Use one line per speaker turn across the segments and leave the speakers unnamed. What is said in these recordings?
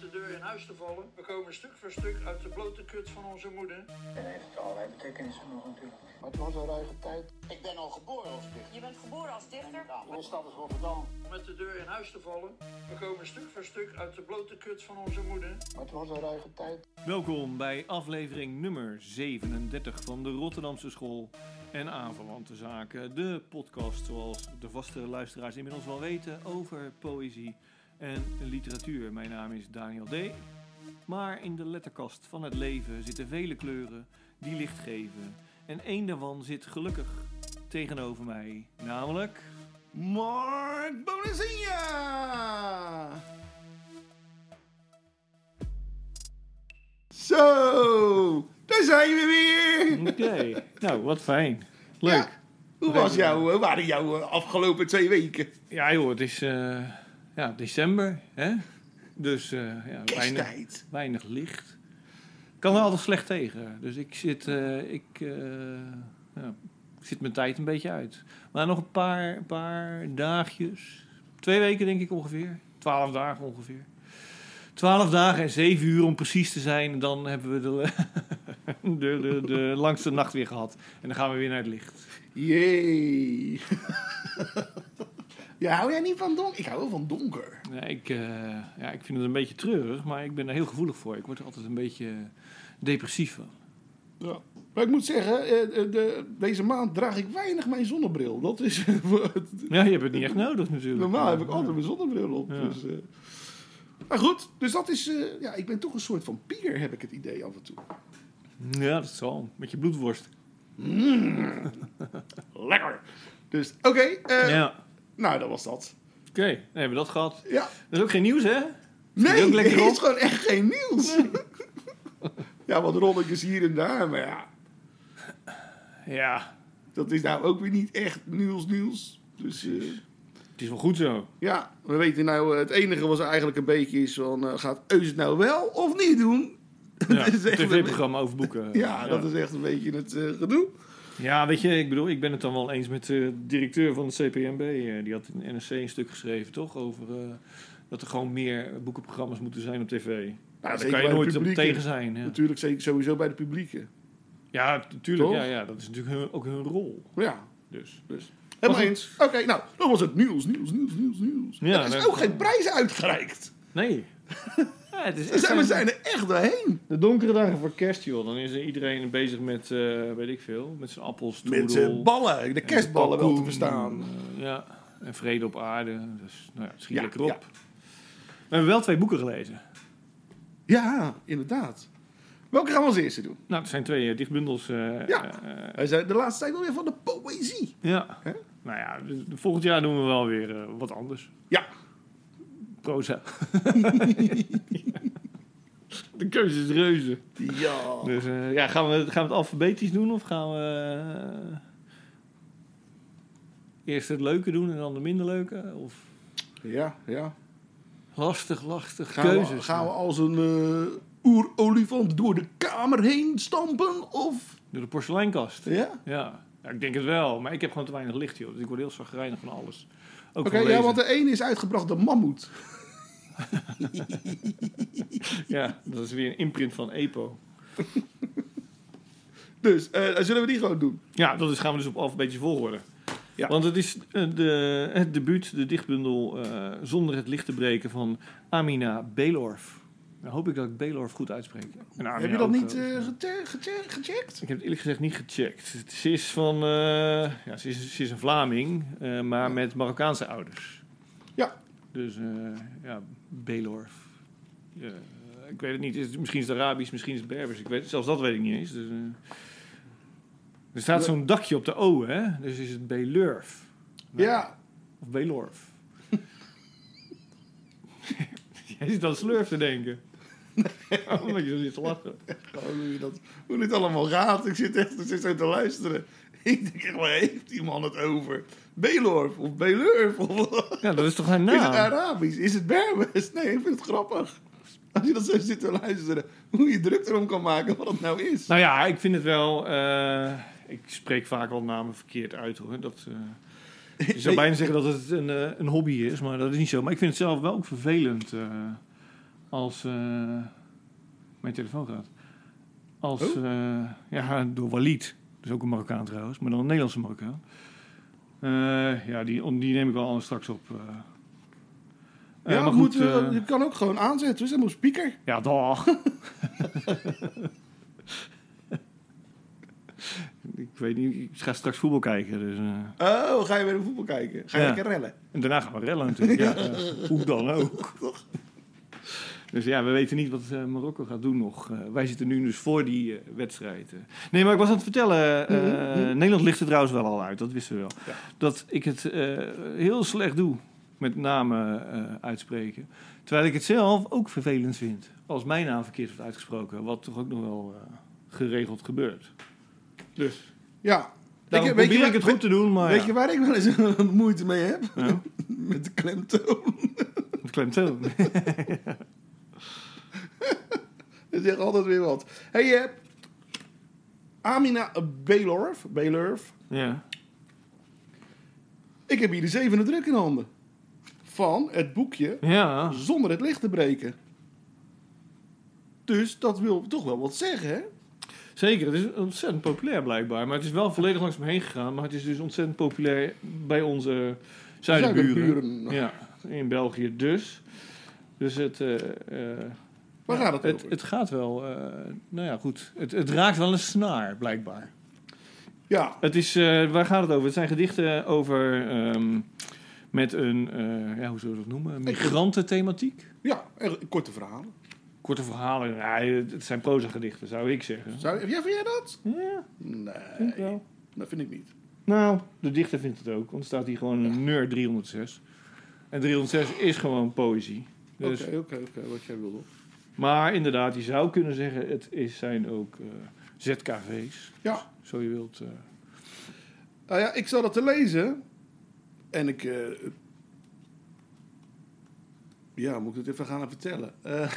de deur in huis te vallen. We komen stuk voor stuk uit de blote kut van onze moeder.
En heeft het allerlei betekenissen nog natuurlijk.
Maar het was een ruige tijd.
Ik ben al geboren als dichter. nou,
Je bent geboren als dichter?
Ja, mijn stad is Rotterdam.
Met de deur in huis te vallen. We komen stuk voor stuk uit de blote kut van onze moeder.
Maar het was een ruige tijd.
Welkom bij aflevering nummer 37 van de Rotterdamse School en aanverwante zaken. De podcast, zoals de vaste luisteraars inmiddels wel weten, over poëzie en literatuur. Mijn naam is Daniel D. Maar in de letterkast van het leven zitten vele kleuren die licht geven. En één daarvan zit gelukkig tegenover mij, namelijk...
Mark Bonazinha! Zo, daar zijn we weer!
Oké, nou wat fijn. Leuk.
Ja, Hoe was jouw, eh, waren jouw eh, afgelopen twee weken?
Ja joh, het is eh, ja, december, hè? Dus eh, ja, weinig,
Kersttijd.
weinig licht. Ik kan er altijd slecht tegen. Dus ik zit, eh, ik, eh, ja, ik zit mijn tijd een beetje uit. Maar nog een paar, een paar dagjes. Twee weken denk ik ongeveer. Twaalf dagen ongeveer. Twaalf dagen en zeven uur om precies te zijn. Dan hebben we de, de, de, de langste nacht weer gehad. En dan gaan we weer naar het licht.
Jee! ja, hou jij niet van donker? Ik hou wel van donker.
Ja, ik, eh, ja, ik vind het een beetje treurig, maar ik ben er heel gevoelig voor. Ik word er altijd een beetje depressief van.
Ja. Maar ik moet zeggen, eh, eh, de, deze maand draag ik weinig mijn zonnebril. Dat is...
Ja, je hebt het niet echt nodig natuurlijk.
Normaal heb ik altijd mijn zonnebril op.
Ja.
Dus, eh. Maar goed, dus dat is... eh, ja, ik ben toch een soort van pier, heb ik het idee af en toe.
Ja, dat zal. Met je bloedworst.
Lekker! Dus, oké. eh,
Ja,
Nou, dat was dat.
oké. Dan hebben we dat gehad.
Ja.
Dat is ook geen nieuws, hè?
Nee,
ook
er
lekker op?
is gewoon echt geen nieuws. ja, wat rolletjes hier en daar. Maar ja,
Ja,
dat is nou ook weer niet echt nieuws nieuws. Dus eh,
het is wel goed zo.
ja, we weten nou... eh, het enige was eigenlijk een beetje is van... eh, gaat Eus het nou wel of niet doen?
Ja,
is echt
TV-programma over boeken.
Ja, dat is echt een beetje het eh, gedoe.
Ja, weet je, ik bedoel, ik ben het dan wel eens met eh, de directeur van de CPMB. eh, die had in NRC een stuk geschreven, toch? Over eh, dat er gewoon meer boekenprogramma's moeten zijn op tv. Ja, daar kan je
zeker bij de
nooit op
publieke.
tegen zijn. Ja.
Natuurlijk zeker sowieso bij de publieke.
Ja, natuurlijk.
Toch?
Ja, ja, dat is natuurlijk hun- ook hun rol.
Ja,
Dus.
dus.
Maar
Helemaal
goed.
eens. Oké, nou, dat was het nieuws, nieuws, nieuws, nieuws, nieuws.
Ja,
er is
dat-
ook geen prijs uitgereikt. Dus
Nee. Ja, het is
We
echt
zijn, we
een-
zijn er echt doorheen.
De donkere dagen voor kerst, joh. Dan is er iedereen bezig met, eh, weet ik veel, met zijn appels,
Met
troedel,
z'n ballen, de
en
kerstballen wel te
kalkoen,
verstaan.
eh, ja, en vrede op aarde. Dus, nou ja, schiet
Ja,
lekker op.
ja.
We hebben wel twee boeken gelezen.
Ja, inderdaad. Welke gaan we als eerste doen?
Nou, het zijn twee eh, dichtbundels. eh,
Ja.
eh, eh,
Hij zei, de laatste tijd wel weer van de poëzie.
ja.
Hè?
Nou ja, dus volgend jaar doen we wel weer eh, wat anders.
Ja.
Proza. De keuze is reuze.
Ja.
Dus eh, ja, gaan we, gaan we het alfabetisch doen of gaan we eh, eerst het leuke doen en dan de minder leuke? Of
Ja, ja.
lastig, lastig.
Gaan,
keuzes.
we, gaan we als een eh oerolifant door de kamer heen stampen? Of?
Door de porseleinkast. Ja.
Ja.
Ja, ik denk het wel, maar ik heb gewoon te weinig licht, joh. Dus ik word heel zagrijnig van alles. Ook
Oké,
van
ja,
lezen.
want de ene is uitgebracht, de mammoet.
Ja, dat is weer een imprint van EPO.
Dus, eh, zullen we die gewoon doen?
Ja, dat is, gaan we dus op alfabetische volgorde.
Ja.
Want het is eh, de, het debuut, de dichtbundel eh, Zonder het licht te breken van Amina Belorf. Nou hoop ik dat ik Belorf goed uitspreek. En Amina
Heb je dat
ook,
niet
eh,
eh, gete- gete- gecheckt?
Ik heb het eerlijk gezegd niet gecheckt. Ze is van, eh, ja, ze is, ze is een Vlaming, eh, maar met Marokkaanse ouders.
Ja.
Dus eh, ja, Belorf. Ja, eh, ik weet het niet. Is het- misschien is het Arabisch, misschien is het Berbers. Ik weet, zelfs dat weet ik niet eens. Dus, eh. er staat zo'n dakje op de O, hè? Dus is het Belurf. Nou,
Ja,
Of Belorf. Jij zit aan slurf te denken. Omdat je zo zit te lachen.
gewoon hoe, je dat, hoe dit allemaal gaat. Ik zit echt ik zit zo te luisteren. Ik denk, echt, waar heeft die man het over? Belorf of Belurf? Of,
Ja, dat is toch haar naam?
Is het Arabisch? Is het Berbers? Nee, ik vind het grappig. Als je dat zo zit te luisteren, hoe je druk erom kan maken wat het nou is.
Nou ja, ik vind het wel. eh, ik spreek vaak wel namen verkeerd uit hoor. Dat, eh, je zou bijna zeggen dat het een, eh, een hobby is, maar dat is niet zo. Maar ik vind het zelf wel ook vervelend. eh, als eh, mijn telefoon gaat. Als,
Oh.
eh, ja, door Walid. Dat is ook een Marokkaan trouwens, maar dan een Nederlandse Marokkaan. Eh, ja, die, die neem ik wel anders straks op. eh. Eh,
ja,
maar
moet,
goed,
eh,
eh,
je kan ook gewoon aanzetten. dus We zijn op speaker.
ja, dag. ik weet niet, ik ga straks voetbal kijken. Dus, eh.
Oh, ga je weer naar voetbal kijken? Ga je
Ja.
lekker rellen?
En daarna gaan we rellen natuurlijk. ja, eh, hoe dan
Oh,
ook. Dus ja, we weten niet wat eh, Marokko gaat doen nog. Eh, wij zitten nu dus voor die eh, wedstrijd. eh. Nee, maar ik was aan het vertellen. eh, Nederland ligt er trouwens wel al uit, dat wisten we wel.
Mhm, Ja.
Dat ik het eh, heel slecht doe met namen eh, uitspreken. Terwijl ik het zelf ook vervelend vind. Als mijn naam verkeerd wordt uitgesproken. Wat toch ook nog wel eh, geregeld gebeurt. Dus
Ja.
daarom
Ik- weet
probeer
je
ik
wat-
het goed te doen, maar
Weet
Oh, ja,
je waar ik wel eens moeite mee heb?
Nou?
Met de klemtoon.
het klemt zo.
Dat zegt altijd weer wat. hey, eh, Amina Belorf. Belorf.
ja.
Ik heb hier de zevende druk in handen. Van het boekje
ja,
Zonder het licht te breken. Dus dat wil toch wel wat zeggen, hè?
Zeker, het is ontzettend populair blijkbaar. Maar het is wel volledig langs me heen gegaan. Maar het is dus ontzettend populair bij onze zuidenburen.
Zuiderburen.
Ja, in België dus. Dus het, eh, eh,
Waar gaat het,
het,
over?
het gaat wel, eh, nou ja goed, het, het raakt wel een snaar blijkbaar.
ja,
Het is, eh, waar gaat het over? Het zijn gedichten over, ehm, met een, eh, ja, hoe zullen we dat noemen, migrantenthematiek.
ja, er- korte verhalen.
Korte verhalen, ja, het zijn proza gedichten zou ik zeggen.
Zou, ja, vind jij dat?
Ja,
Nee,
vind ik wel.
dat vind ik niet.
Nou, de dichter vindt het ook, want er staat hier gewoon een neur 306. En 306 is gewoon poëzie. Dus,
Oké, oké, oké, wat jij wilde.
Maar inderdaad, je zou kunnen zeggen, het is, zijn ook eh, ZKV's,
Ja,
zo je wilt. eh.
Nou ja, ik zat dat te lezen. En ik. eh, ja, moet ik het even gaan vertellen? Eh,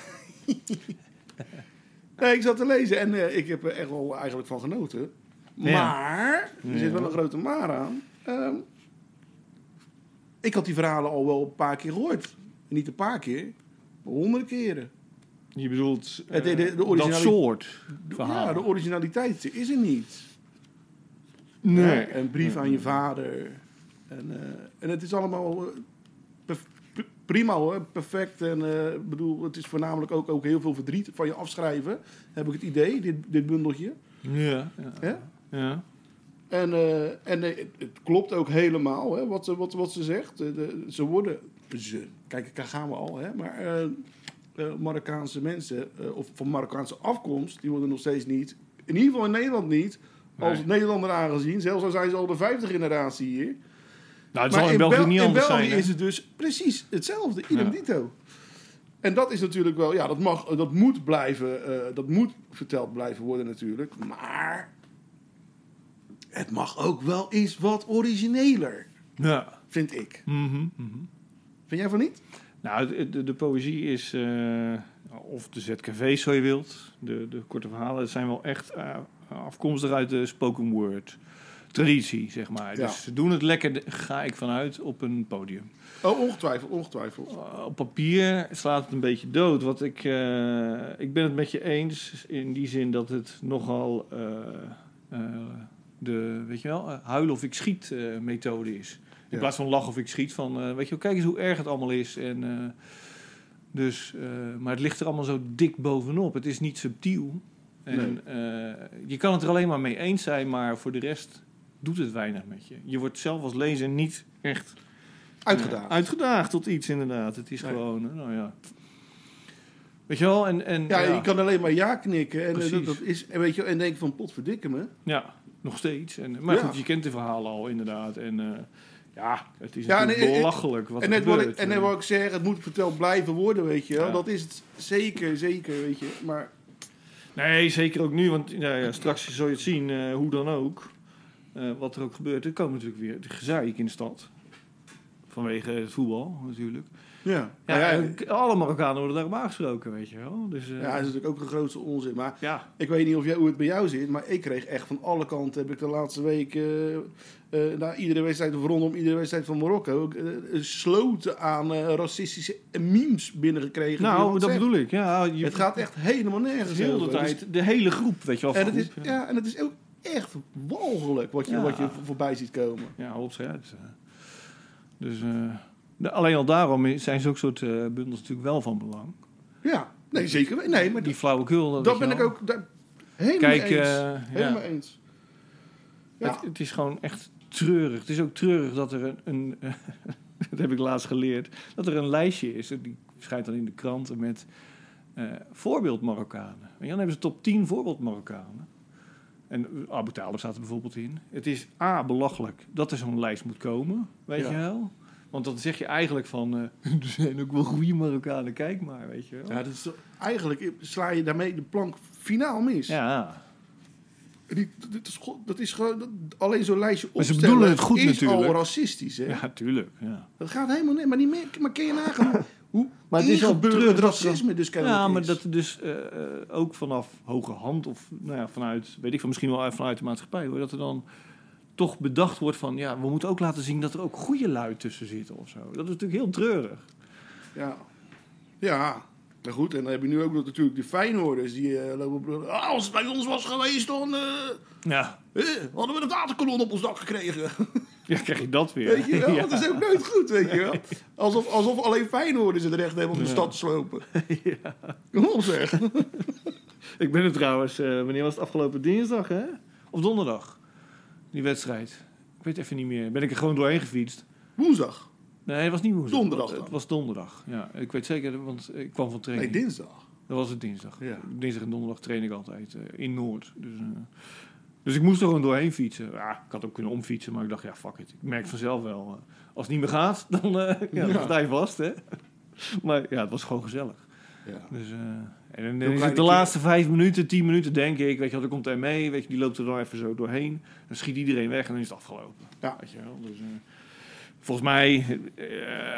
nee, ik zat te lezen en eh, ik heb er echt wel eigenlijk van genoten.
Ja.
Maar, er
Ja.
zit wel een grote maar aan. Ehm, ik had die verhalen al wel een paar keer gehoord. Niet een paar keer, maar honderden keren.
je bedoelt eh,
Het- de- de- de
dat
originali-
soort verhaal.
Ja, de originaliteit is er niet.
nee.
Ja, Een brief aan je vader. En, eh, en het is allemaal eh, perf- p- prima hoor, perfect. En eh, ik bedoel, het is voornamelijk ook, ook heel veel verdriet van je afschrijven. Heb ik het idee, dit, dit bundeltje.
Ja, ja,
Hè?
ja. Nou,
En, eh, en eh, het, het klopt ook helemaal hè, wat, ze- wat, wat ze zegt. Eh, de- ze worden, ze, kijk, daar gaan we al, hè, maar eh, eh, Marokkaanse mensen eh, of van Marokkaanse afkomst, die worden nog steeds niet, in ieder geval in Nederland niet, als
Nee.
Nederlander aangezien. Zelfs al zijn ze al de vijfde generatie hier.
Nou, het
Maar
zal in België
Bel-
niet
in
anders
België
zijn. hè?
is het dus precies hetzelfde, idem
Ja.
dito. En dat is natuurlijk wel, ja, dat, mag, dat moet blijven, eh, dat moet verteld blijven worden natuurlijk. Maar het mag ook wel eens wat origineler,
Ja.
vind ik.
Mhm, mhm.
Vind jij van niet?
Nou, de, de, de poëzie is, eh, of de ZKV zo je wilt, de, de korte verhalen, het zijn wel echt eh, afkomstig uit de spoken word traditie, zeg maar.
Ja.
Dus ze doen het lekker, de- ga ik vanuit, op een podium.
Oh, ongetwijfeld, ongetwijfeld.
Eh, op papier slaat het een beetje dood, want ik, eh, ik ben het met je eens in die zin dat het nogal eh, eh, de, weet je wel, eh, huil of ik schiet eh, methode is. In
Ja.
plaats van lach of ik schiet, van eh, weet je wel, kijk eens hoe erg het allemaal is. En, eh, dus, eh, maar het ligt er allemaal zo dik bovenop. Het is niet subtiel. En, eh, je kan het er alleen maar mee eens zijn, maar voor de rest doet het weinig met je. Je wordt zelf als lezer niet echt
Uitgedaan.
ja, uitgedaagd tot iets, inderdaad. Het is
Nee.
gewoon, eh, nou ja. Weet je wel, en... en
Ja, je kan alleen maar ja knikken. En, eh, dat,
Precies.
dat is, en, weet je, en denk van, potverdikke me.
ja, nog steeds. En, maar
Ja.
goed, je kent de verhalen al, inderdaad. En eh, ja, het is
Ja,
natuurlijk
nee, ik-
belachelijk wat
En
er
net, wat
gebeurt.
ik, en net wat ik zeg, het moet verteld blijven worden, weet je wel.
Ja.
Dat is het zeker, zeker, weet je. Maar
Nee, zeker ook nu, want nou ja, straks zul je het zien, eh, hoe dan ook. eh, wat er ook gebeurt. Er komen natuurlijk weer de gezeik in de stad. Vanwege het voetbal, natuurlijk.
Ja.
Ja,
Nou Ja, ja,
en k- alle Marokkanen worden daarop aangesproken, weet je wel. Dus, eh,
dat is natuurlijk ook een grootste onzin. Maar
ja.
ik weet niet of jij, hoe het bij jou zit, maar ik kreeg echt van alle kanten, heb ik de laatste week, eh, eh, na iedere wedstrijd of rondom iedere wedstrijd van Marokko, ook, eh, sloten aan eh, racistische memes binnengekregen.
Nou,
Wat
dat
zegt.
bedoel ik. Ja, je,
Het gaat echt helemaal nergens
heel de
over. Dus-
tijd, de hele groep, weet je wel.
En het, is,
groep, ja.
ja, en het is ook echt walgelijk wat je,
Ja.
wat je voor- voorbij ziet komen.
Ja, hops, ja. Dus, eh, dus eh, de- alleen al daarom is- zijn zo'n soort eh, bundels natuurlijk wel van belang.
Ja, nee, zeker. wel. Nee, maar
Die
die,
flauwekul, dat,
dat
weet
ben
je
ik
wel.
ook daar, helemaal
Kijk,
mee eens.
eh, ja.
helemaal eens. Ja.
Het, het is gewoon echt treurig. Het is ook treurig dat er een... een dat heb ik laatst geleerd. Dat er een lijstje is. Die schijnt dan in de kranten met eh voorbeeld Marokkanen. Weet je, dan hebben ze top 10 voorbeeld Marokkanen. En Abu Talib staat er bijvoorbeeld in. Het is A, belachelijk dat er zo'n lijst moet komen. Weet
Ja.
je wel? Want dan zeg je eigenlijk van... eh, er zijn ook wel goede Marokkanen, kijk maar, weet je wel.
Ja, dat is, toch- eigenlijk sla je daarmee de plank finaal mis.
ja.
Die, dat, is, gewoon- dat is gewoon, dat- alleen zo'n lijstje
Maar ze
opstellen
bedoelen het goed
is al
natuurlijk.
racistisch. Hè?
Ja, tuurlijk. Ja,
Dat gaat helemaal niet. Maar, die, men- maar ken je nagaan hoe
Maar het is al
ingebeurd
terug
het
dat ze-
racisme dus kennelijk
ja maar
is.
dat er dus eh, eh, ook vanaf hoge hand of nou ja, vanuit, weet ik van misschien wel vanuit de maatschappij hoor, dat er dan toch bedacht wordt van ja, we moeten ook laten zien dat er ook goede lui tussen zitten of zo. Dat is natuurlijk heel treurig.
Ja. Ja. Maar goed, en dan heb je nu ook nog natuurlijk de Feyenoorders die eh, lopen... op- Ah, als het bij ons was geweest, dan eh,
Ja,
eh, hadden we een waterkanon op ons dak gekregen.
ja krijg je dat weer.
Weet je wel?
Ja.
Dat is ook nooit goed, weet je wel? Alsof, alsof alleen Feyenoorders het recht hebben om de stad te slopen. Kom op zeg.
Ik ben er trouwens, eh, wanneer was het afgelopen dinsdag hè? Of donderdag? Die wedstrijd. Ik weet even niet meer. Ben ik er gewoon doorheen gefietst.
Woensdag.
Nee, het was niet woensdag.
Donderdag dan.
Het was donderdag. Ja, ik weet zeker, want ik kwam van
Nee,
training.
dinsdag.
Dat was het dinsdag.
Ja.
Dinsdag en donderdag train ik altijd eh, in Noord. Dus, eh, dus ik moest er gewoon doorheen fietsen. Ja, ik had ook kunnen omfietsen, maar ik dacht, ja, fuck it. Ik merk vanzelf wel. eh, als het niet meer gaat, dan, eh, ja, dan
Ja.
sta je vast, hè. Maar ja, het was gewoon gezellig.
Ja.
Dus, eh, en dan
kleine
is het de
keer.
laatste vijf minuten, tien minuten, denk ik. Weet je, wel, dan komt er mee. Weet je, die loopt er dan even zo doorheen. Dan schiet iedereen weg en dan is het afgelopen.
Ja.
Weet je wel. Dus, eh, volgens mij eh,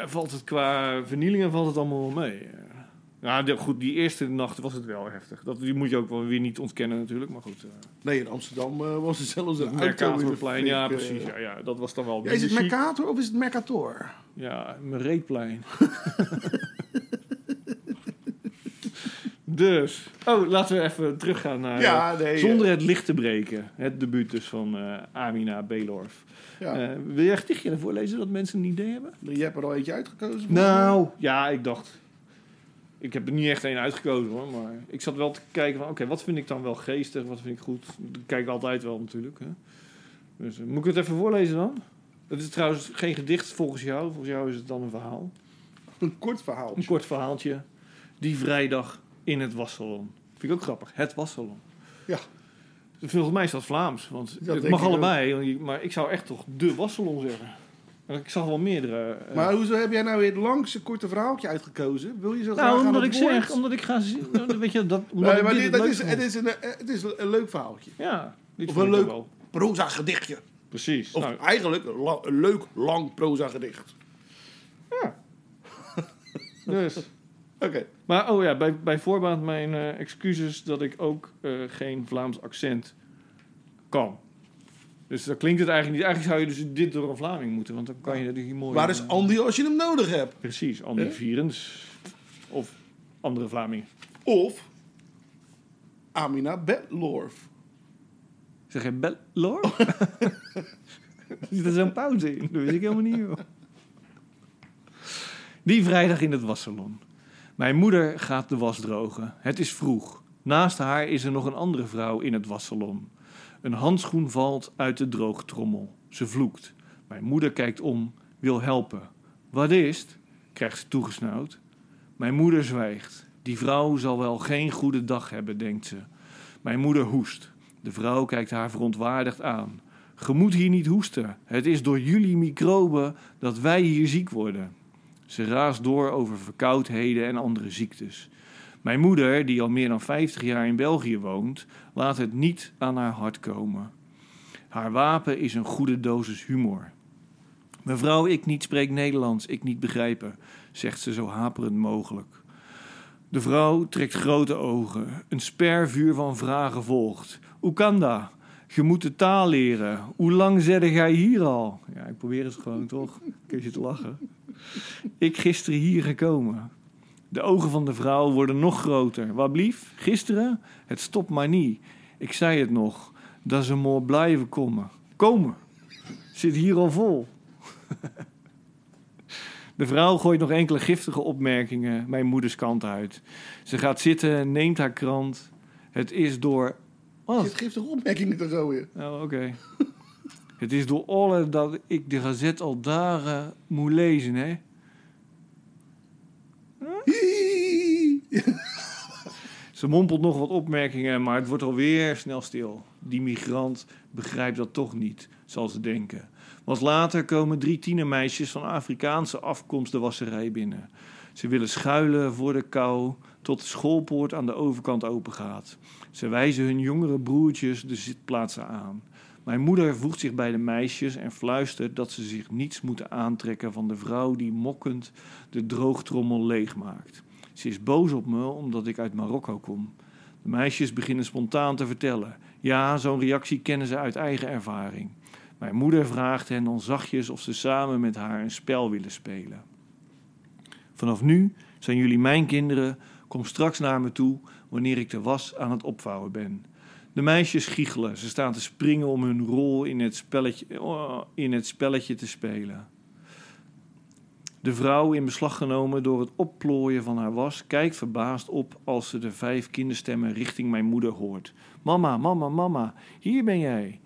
valt het qua vernielingen valt het allemaal wel mee. Eh, nou, de- goed, die eerste nacht was het wel heftig. Dat die moet je ook wel weer niet ontkennen natuurlijk. Maar goed, eh
Nee, in Amsterdam eh, was het zelfs een auto in de
Mercatorplein, ja
fik, eh.
precies. Ja, ja, dat was dan wel
Ja, is het
ziek.
Mercator of is het Mercator?
Ja, Mereetplein. dus, oh, laten we even teruggaan naar...
Ja, nee, eh.
zonder het licht te breken. Het debuut dus van eh, Amina Belorf.
Ja.
Eh, wil jij een gedichtje ervoor lezen dat mensen een idee hebben?
je hebt er al eentje uitgekozen.
Nou, ja, ik dacht... Ik heb er niet echt één uitgekozen hoor, maar ik zat wel te kijken van... Oké, wat vind ik dan wel geestig, wat vind ik goed? Ik kijk altijd wel natuurlijk, hè. Dus, eh, moet ik het even voorlezen dan? Het is trouwens geen gedicht volgens jou. Volgens jou is het dan een verhaal.
Een kort verhaal.
Een kort verhaaltje. Die vrijdag in het wassalon. Vind ik ook grappig. Het wassalon.
Ja.
Volgens mij is dat Vlaams. Want
Dat
het
denk
mag
ik ook.
allebei. want je- Maar ik zou echt toch de wassalon zeggen. En ik zag wel meerdere. eh,
Maar hoezo heb jij nou weer het langste korte verhaaltje uitgekozen? Wil je zo graag
nou,
aan
omdat ik
het woord?
zeg, omdat ik ga zien. Weet je, dat, omdat
Nee,
ik
maar
dit
dit,
het
dat is,
leukste
het,
vond.
is een, eh, het is een leuk verhaaltje.
Ja, dit
Of
vond
een
ik
leuk-
wel.
Proza gedichtje.
Precies.
Of
nou,
eigenlijk een, la- een leuk, lang proza gedicht. nou,
dus.
Oké.
Maar oh ja, bij, bij voorbaat mijn eh, excuses dat ik ook eh, geen Vlaams accent kan. Dus dan klinkt het eigenlijk niet. Eigenlijk zou je dus dit door een Vlaming moeten, want dan kan je natuurlijk mooi.
Waar is
eh,
Andy als je hem nodig hebt?
Precies, Andy
Hè?
Vierens. Of andere Vlamingen.
Of Amina Bedlorf.
Zeg je Bellor? er zit zo'n pauze in. Dat wist ik helemaal niet, joh. Die vrijdag in het wassalon. Mijn moeder gaat de was drogen. Het is vroeg. Naast haar is er nog een andere vrouw in het wassalon. Een handschoen valt uit de droogtrommel. Ze vloekt. Mijn moeder kijkt om, wil helpen. Wat is het? krijgt ze toegesnauwd. Mijn moeder zwijgt. Die vrouw zal wel geen goede dag hebben, denkt ze. Mijn moeder hoest. De vrouw kijkt haar verontwaardigd aan. Ge moet hier niet hoesten. Het is door jullie microben dat wij hier ziek worden. Ze raast door over verkoudheden en andere ziektes. Mijn moeder, die al meer dan 50 jaar in België woont, laat het niet aan haar hart komen. Haar wapen is een goede dosis humor. Mevrouw, ik niet spreek Nederlands, ik niet begrijpen. zegt ze zo haperend mogelijk. De vrouw trekt grote ogen. Een spervuur van vragen volgt. Hoe kan dat? Je moet de taal leren. Hoe lang zette jij hier al? Ja, ik probeer het gewoon, toch? Kun je te lachen? Ik gisteren hier gekomen. De ogen van de vrouw worden nog groter. Wat blief? Gisteren? Het stopt maar niet. Ik zei het nog. Dat ze maar blijven komen. Komen. Zit hier al vol. De vrouw gooit nog enkele giftige opmerkingen mijn moeders kant uit. Ze gaat zitten, neemt haar krant. Het is door.
Dit
Wat?
geeft toch opmerkingen te gooien?
Oh, oké. het is door alle dat ik de gazet al dagen moet lezen, hè?
Hihi.
Ze mompelt nog wat opmerkingen, maar het wordt alweer snel stil. Die migrant begrijpt dat toch niet, zal ze denken. Want later komen drie tienermeisjes van Afrikaanse afkomst de wasserij binnen. Ze willen schuilen voor de kou tot de schoolpoort aan de overkant opengaat. Ze wijzen hun jongere broertjes de zitplaatsen aan. Mijn moeder voegt zich bij de meisjes en fluistert dat ze zich niets moeten aantrekken van de vrouw die mokkend de droogtrommel leegmaakt. Ze is boos op me omdat ik uit Marokko kom. De meisjes beginnen spontaan te vertellen. Ja, zo'n reactie kennen ze uit eigen ervaring. Mijn moeder vraagt hen dan zachtjes of ze samen met haar een spel willen spelen. Vanaf nu zijn jullie mijn kinderen. Kom straks naar me toe wanneer ik de was aan het opvouwen ben. De meisjes giechelen. Ze staan te springen om hun rol in het spelletje, oh, in het spelletje te spelen. De vrouw, in beslag genomen door het opplooien van haar was, kijkt verbaasd op als ze de vijf kinderstemmen richting mijn moeder hoort. Mama, mama, mama, hier ben jij.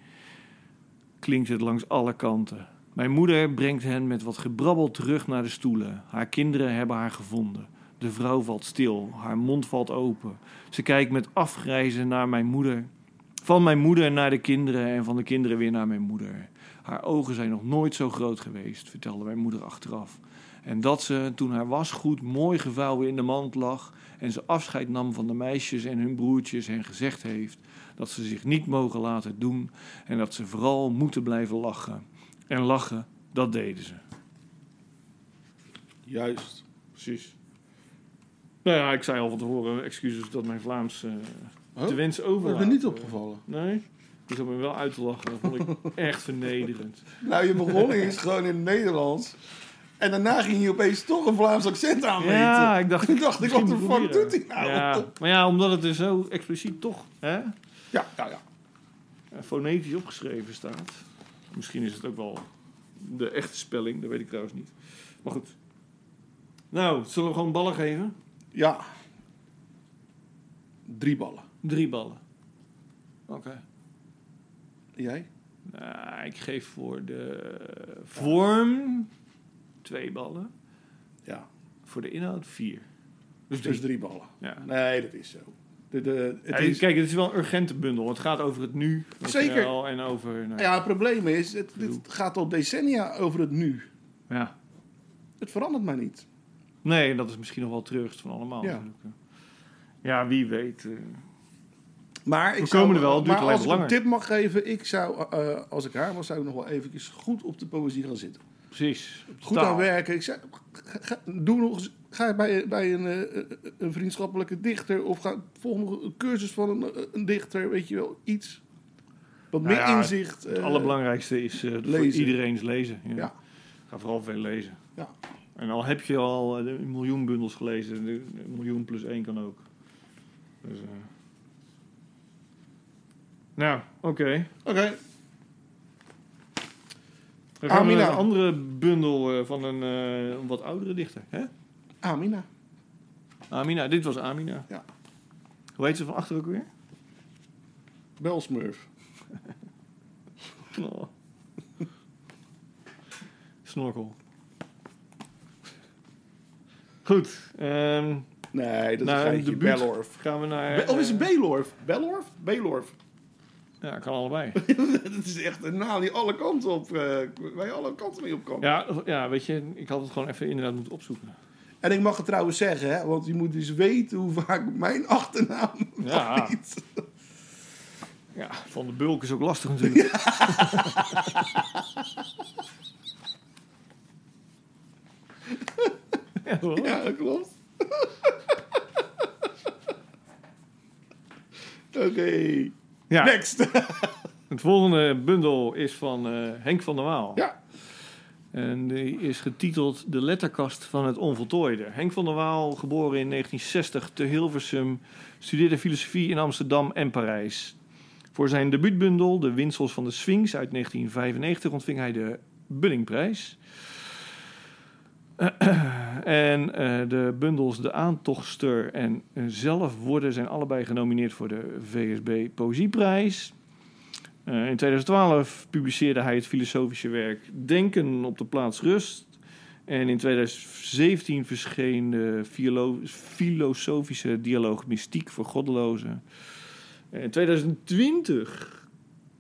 Klinkt het langs alle kanten. Mijn moeder brengt hen met wat gebrabbel terug naar de stoelen. Haar kinderen hebben haar gevonden. De vrouw valt stil, haar mond valt open. Ze kijkt met afgrijzen naar mijn moeder. Van mijn moeder naar de kinderen en van de kinderen weer naar mijn moeder. Haar ogen zijn nog nooit zo groot geweest, vertelde mijn moeder achteraf. En dat ze, toen haar wasgoed mooi gevouwen in de mand lag en ze afscheid nam van de meisjes en hun broertjes, hen gezegd heeft dat ze zich niet mogen laten doen en dat ze vooral moeten blijven lachen. En lachen, dat deden ze.
Juist.
Precies. Nou ja, ik zei al van tevoren, excuses dat mijn Vlaams eh
Oh,
te wensen
Dat
over.
is me niet opgevallen.
Nee? Ik zat me wel uit te lachen. Dat vond ik echt vernederend.
Nou, je begon eens gewoon in het Nederlands. En daarna ging je opeens toch een Vlaams accent aanmeten.
Ja, ik dacht...
Toen dacht ik, wat de
misschien
fuck
proberen.
doet hij nou?
Ja, maar ja, omdat het er zo expliciet toch hè,
ja, ja. ja.
fonetisch opgeschreven staat. Misschien is het ook wel de echte spelling, dat weet ik trouwens niet. Maar goed. Nou, zullen we gewoon ballen geven?
Ja. Drie ballen.
Drie ballen. Oké.
En Jij?
Nou, ik geef voor de vorm twee ballen.
Ja.
Voor de inhoud vier.
Dus, dus drie ballen.
Ja.
Nee, dat is zo. De, de, het
Ja,
is,
Kijk, het is wel een urgente bundel. Het gaat over het nu. weet je
Zeker.
wel, En over... nou,
ja, het probleem is, het, dit gaat al decennia over het nu.
ja.
Het verandert maar niet.
Nee, en dat is misschien nog wel terugst van allemaal.
Ja.
natuurlijk. ja wie weet. eh.
Maar ik
We
zou,
komen er wel, het duurt
maar
alleen
als ik
wat
een tip mag geven, ik zou, eh, als ik haar was, zou ik nog wel eventjes goed op de poëzie gaan zitten.
Precies.
Goed
Taal.
aan werken. Ik zou, ga- ga- doe nog eens- ga bij, bij een, eh, een vriendschappelijke dichter of ga volg nog een cursus van een, eh, een dichter, weet je wel, iets. Wat
Nou
meer
ja,
inzicht.
Het
eh,
allerbelangrijkste is eh voor
lezen.
iedereen's lezen. Ja.
Ja.
Ga vooral veel lezen.
Ja.
En al heb je al eh, een miljoen bundels gelezen, een miljoen plus één kan ook. Dus, eh. Nou, oké.
Oké,
Dan gaan we
Amina.
naar een andere bundel eh, van een eh, een wat oudere dichter. Hè?
Amina.
Amina, dit was Amina.
Ja.
Hoe heet ze van achter ook weer?
Belsmurf.
Oh. Snorkel. Goed. ehm,
Nee, dat
Nou,
is
een
een geintje.
debuut.
Belorf.
gaan we naar...
Be- of is het
eh,
Belorf? Belorf? Belorf.
Ja, kan allebei.
dat is echt een naam die alle kanten op, eh waar je alle kanten mee op kan.
ja, ja, weet je, ik had het gewoon even inderdaad moeten opzoeken.
En ik mag het trouwens zeggen, hè, want je moet dus weten hoe vaak mijn achternaam
Ja.
valt.
Ja, van de bulk is ook lastig natuurlijk. Ja. Ja, hoor.
Ja, dat klopt. Oké.
Ja,
Next.
het volgende bundel is van eh, Henk van der Waal.
ja.
En die is getiteld De letterkast van het onvoltooide. Henk van der Waal, geboren in 1960 te Hilversum, studeerde filosofie in Amsterdam en Parijs. Voor zijn debuutbundel De Winsels van de Sphinx uit 1995 ontving hij de Bunningprijs. En eh, de bundels De Aantochtster en Zelf worden zijn allebei genomineerd voor de VSB Poëzieprijs. Eh, in 2012 publiceerde hij het filosofische werk Denken op de plaats Rust. En in 2017 verscheen de filo- filosofische dialoog Mystiek voor Goddelozen. In 2020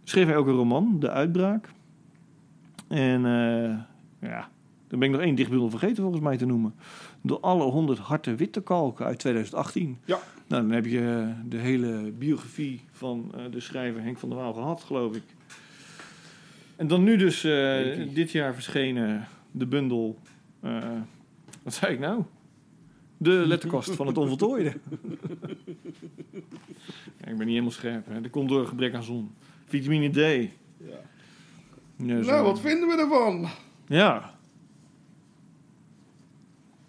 schreef hij ook een roman, De Uitbraak. En eh, ja, dan ben ik nog één dichtbundel vergeten volgens mij te noemen. Door alle 100 harten witte kalken uit 2018.
Ja.
Nou, dan heb je de hele biografie van eh, de schrijver Henk van der Waal gehad, geloof ik. En dan nu dus eh,
Henkie.
dit jaar verschenen de bundel... eh, wat zei ik nou? De letterkast van het onvoltooide. Ja, ik ben niet helemaal scherp. Hè. Dat komt door gebrek aan zon. Vitamine D.
Ja.
Ja, zo.
Nou, wat vinden we ervan?
Ja.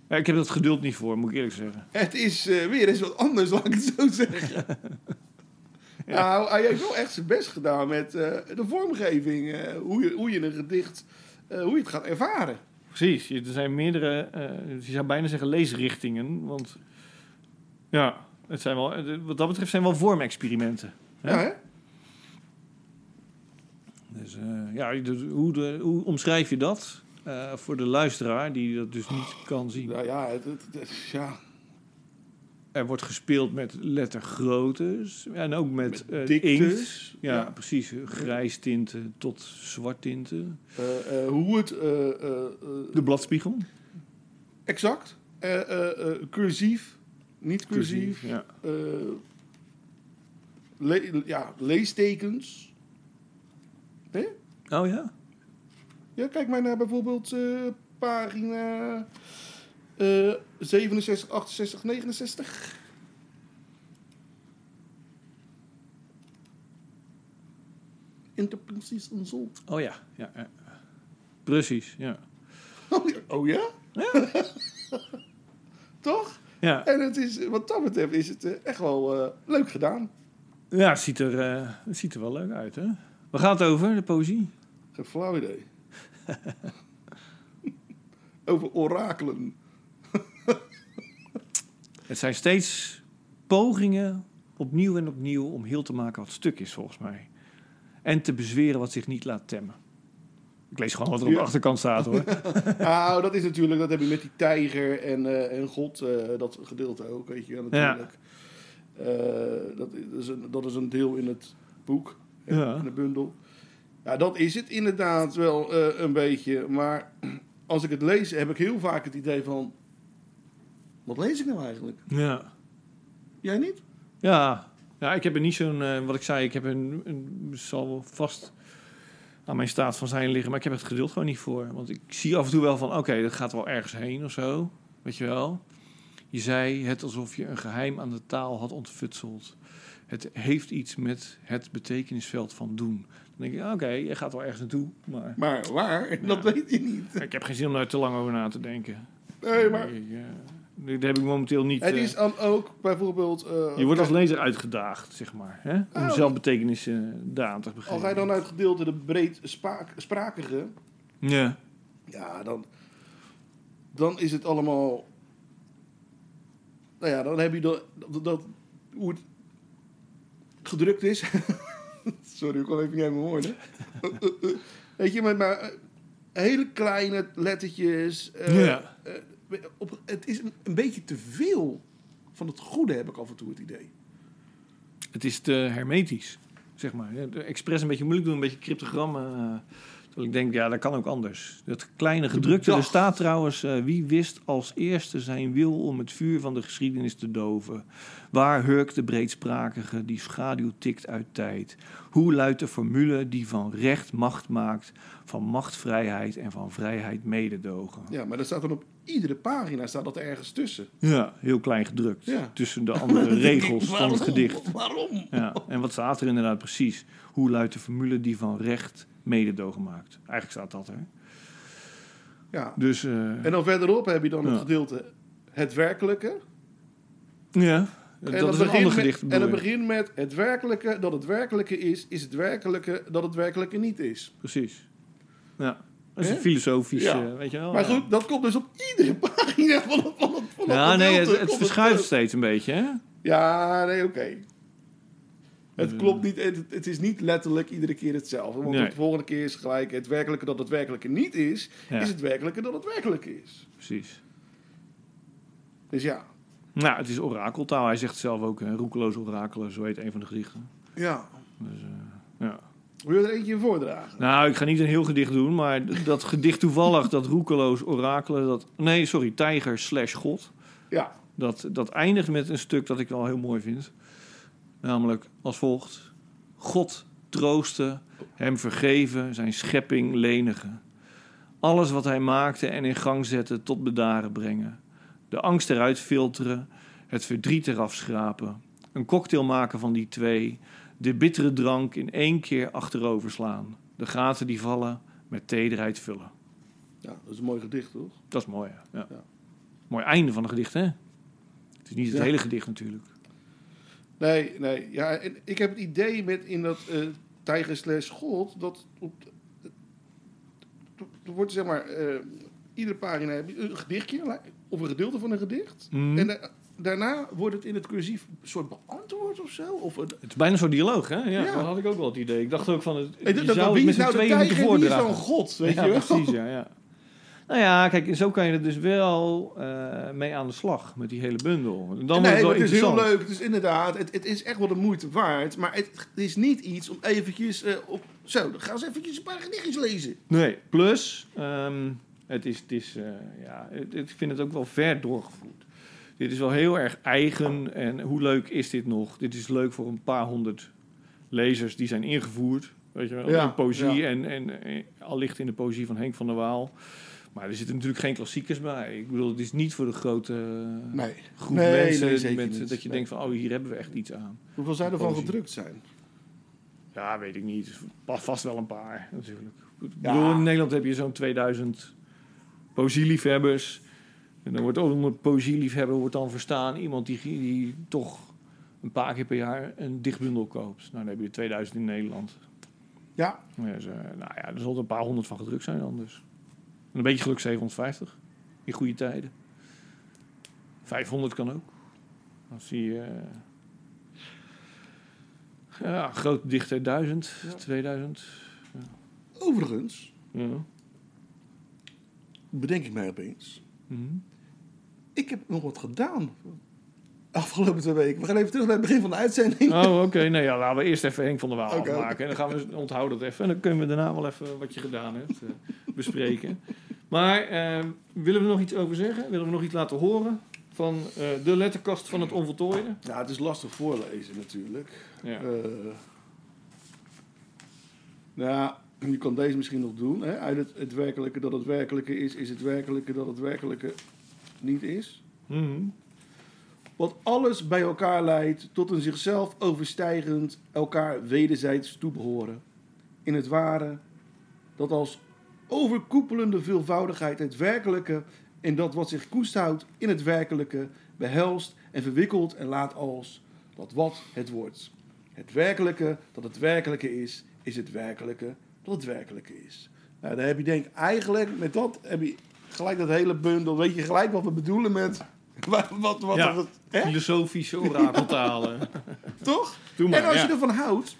Ja, Ik heb dat geduld niet voor, moet ik eerlijk zeggen.
Het is eh, weer eens wat anders, laat ik het zo zeggen. Nou, hij heeft wel echt zijn best gedaan met eh, de vormgeving. eh, hoe, je, hoe je een gedicht, eh, hoe je het gaat ervaren.
Precies. je- Er zijn meerdere, eh je zou bijna zeggen leesrichtingen. Want ja, het zijn wel, eh, wat dat betreft zijn wel vormexperimenten.
Ja,
Ja.
hè?
Dus eh, ja, de- hoe, de, hoe omschrijf je dat eh, voor de luisteraar die dat dus niet kan zien?
Nou ja, het, het- het- ja.
Er wordt gespeeld met lettergroottes en ook met, eh,
diktes.
inkt. Ja,
Ja.
precies. eh, Grijs tinten tot zwart tinten.
Eh, eh, hoe het eh, eh, eh,
De bladspiegel.
exact, eh, eh, eh, cursief, niet cursief,
Ja.
eh, le- ja, leestekens.
Oh ja?
Ja, kijk maar naar bijvoorbeeld eh, pagina eh 67, 68, 69. Interpuncties en zo.
Oh ja. ja, ja. Precies, ja.
Oh ja? Oh ja? Toch?
Ja,
En het is, wat dat betreft is het eh, echt wel eh, leuk gedaan.
ja het, ziet er, eh, het ziet er wel leuk uit, hè? Waar gaat het over, de poëzie?
Geen flauw idee. Over orakelen.
Het zijn steeds pogingen, opnieuw en opnieuw, om heel te maken wat stuk is, volgens mij. En te bezweren wat zich niet laat temmen. Ik lees gewoon wat er op de
Ja.
achterkant staat, hoor.
Nou, dat is natuurlijk, dat heb je met die tijger en, eh, en God, eh, dat gedeelte ook, weet je wel, natuurlijk. Eh, dat, is een, dat is een deel in het boek, hè,
Ja.
in de bundel. Ja, dat is het inderdaad wel eh, een beetje, maar als ik het lees heb ik heel vaak het idee van, wat lees ik nou eigenlijk?
Ja.
Jij niet?
Ja, ja ik heb er niet zo'n, eh, wat ik zei, ik heb een, een zal wel vast aan mijn staat van zijn liggen, maar ik heb het geduld gewoon niet voor. Want ik zie af en toe wel van, oké, dat gaat wel ergens heen of zo, weet je wel. Je zei het alsof je een geheim aan de taal had ontfutseld. Het heeft iets met het betekenisveld van doen. Dan denk ik, oké, je gaat wel ergens naartoe, maar
Maar waar? Dat weet je niet.
ik heb geen zin om daar te lang over na te denken.
Nee, maar
Ik, eh, dat heb ik momenteel niet.
het
eh,
is dan ook bijvoorbeeld... eh,
je wordt als lezer uitgedaagd, zeg maar. Hè? Om
Ah, oké.
zelf betekenissen daaraan te
Als
begrijpen.
hij dan uit gedeelte de breed spaak- sprakige...
Ja.
Ja, dan, dan is het allemaal. Nou ja, dan heb je dat, dat, dat- hoe het gedrukt is. Sorry, ik kon even niet aan mijn woorden. Weet je, maar, maar eh, hele kleine lettertjes. eh,
Ja.
eh, op, het is een, een beetje te veel van het goede, heb ik af en toe het idee.
Het is te hermetisch, zeg maar. Ja, de- Expres een beetje moeilijk doen, een beetje cryptogrammen eh, Terwijl ik denk, ja, dat kan ook anders. Dat kleine gedrukte, er
Bedacht.
staat trouwens... eh, wie wist als eerste zijn wil om het vuur van de geschiedenis te doven? Waar hurkt de breedsprakige die schaduw tikt uit tijd? Hoe luidt de formule die van recht macht maakt... van macht vrijheid en van vrijheid mededogen?
Ja, maar dat staat dan op iedere pagina staat dat ergens tussen.
Ja, heel klein gedrukt.
Ja.
Tussen de andere regels van het gedicht.
Waarom?
Ja, en wat staat er inderdaad precies? Hoe luidt de formule die van recht mededogen maakt? Eigenlijk staat dat er.
Ja.
Dus eh,
En dan verderop heb je dan
Ja.
het gedeelte het werkelijke.
ja,
En
dat is een
begint
ander
met-
gedicht.
En
bedoel
het
ik.
begint met het werkelijke dat het werkelijke is, is het werkelijke dat het werkelijke niet is.
Precies. Ja, dat is een
Hè?
filosofisch,
Ja.
eh, weet je wel.
Maar
ja.
goed, dat komt dus op iedere pagina van het, van het, van het
Ja, nee,
gedeelte
het, het
komt
verschuift
terug.
steeds een beetje, hè?
Ja, nee, oké. Het
Dus,
klopt niet, het, het is niet letterlijk iedere keer hetzelfde. Want
Nee.
de volgende keer is gelijk het werkelijke dat het werkelijke niet is,
Ja.
is het werkelijke dat het werkelijke is.
Precies.
Dus ja.
Nou, het is orakeltaal. Hij zegt het zelf ook, hè, roekeloos orakelen, zo heet een van de gedichten.
Ja.
Dus, eh, Ja.
Wil je er eentje in voordragen?
Nou, ik ga niet een heel gedicht doen, maar d- dat gedicht toevallig, dat roekeloos orakelen, dat... Nee, sorry, tijger slash god.
Ja.
Dat, dat eindigt met een stuk dat ik wel heel mooi vind. Namelijk als volgt. God troosten, hem vergeven, zijn schepping lenigen. Alles wat hij maakte en in gang zette tot bedaren brengen. De angst eruit filteren, het verdriet eraf schrapen. Een cocktail maken van die twee. De bittere drank in één keer achterover slaan. De gaten die vallen met tederheid vullen.
Ja, dat is een mooi gedicht, toch?
Dat is mooi, hè? ja.
Ja.
Mooi einde van een gedicht, hè? Het is niet het
Ja.
hele gedicht natuurlijk.
Nee, nee. Ja, en ik heb het idee met in dat eh tijger slash god, dat op, er wordt zeg maar, eh, iedere pagina heb je een gedichtje, li- of een gedeelte van een gedicht.
Mhm.
En da- daarna wordt het in het cursief een soort beantwoord of zo. Of een,
Het is bijna zo'n dialoog, hè? Ja,
Ja.
Dat had ik ook wel het idee. Ik dacht ook van, het,
Hey,
je
dat- dat-
zou het
wie
met
is
z'n
nou de
tweeën moeten
tijger en wie is
voordragen.
dan god, weet
ja,
je wel?
precies, ja, ja. Nou ja, kijk, en zo kan je er dus wel eh, mee aan de slag met die hele bundel. En Dan wordt
nee,
het wel
maar het is heel
interessant.
leuk. Het is inderdaad, het, het is echt wel de moeite waard. Maar het is niet iets om eventjes eh, op... Zo, dan ga eens eventjes een paar gedichtjes lezen.
Nee, plus, ehm, het is, het is eh, ja, het- het- ik vind het ook wel ver doorgevoerd. Dit is wel heel erg eigen en hoe leuk is dit nog? Dit is leuk voor een paar honderd lezers die zijn ingevoerd. Weet je wel,
Ja,
in poëzie
ja.
en, en, en allicht in de poëzie van Henk van der Waal. Maar er zitten natuurlijk geen klassiekers bij. Ik bedoel, het is niet voor de grote eh,
Nee.
groep
Nee,
mensen
nee, zeker
met,
niet.
dat je
Nee.
denkt van, oh, hier hebben we echt iets aan.
Hoeveel zou ervan
Poëzie.
gedrukt zijn?
Ja, weet ik niet. Va- Vast wel een paar, natuurlijk. Ik
Ja.
bedoel, in Nederland heb je zo'n 2000 poëzieliefhebbers. En dan wordt ook onder poëzieliefhebber wordt dan verstaan iemand die, die toch een paar keer per jaar een dichtbundel koopt. Nou, dan heb je er 2000 in Nederland.
Ja.
Ja, ze- nou ja, er zullen een paar honderd van gedrukt zijn anders. En een beetje geluk 750. In goede tijden. 500 kan ook. Als zie je... eh, ja, groot dichter 1000, 2000.
Overigens,
Ja.
bedenk ik mij opeens...
Mhm.
Ik heb nog wat gedaan de afgelopen twee weken. We gaan even terug naar het begin van de uitzending.
Oh, oké. Nou ja, laten we eerst even Henk van der Waal
Oké.
afmaken. En dan gaan we onthouden dat even. En dan kunnen we daarna wel even wat je gedaan hebt eh, bespreken. Maar eh, willen we nog iets over zeggen? Willen we nog iets laten horen van eh, de letterkast van het onvoltooide?
Ja, het is lastig voorlezen natuurlijk.
Ja.
Eh, nou ja, je kan deze misschien nog doen. Hè? Uit het, het werkelijke dat het werkelijke is, is het werkelijke dat het werkelijke niet is.
Mhm.
Wat alles bij elkaar leidt tot een zichzelf overstijgend elkaar wederzijds toebehoren. In het ware dat als overkoepelende veelvoudigheid het werkelijke en dat wat zich koest houdt in het werkelijke behelst en verwikkelt en laat als dat wat het wordt. Het werkelijke dat het werkelijke is, is het werkelijke dat het werkelijke is. Nou, daar heb je denk ik eigenlijk met dat heb je gelijk dat hele bundel. Weet je gelijk wat we bedoelen met wat, wat, wat
Ja.
er- hè?
Filosofische orakeltalen.
toch?
Doe maar,
en als
ja.
je ervan houdt,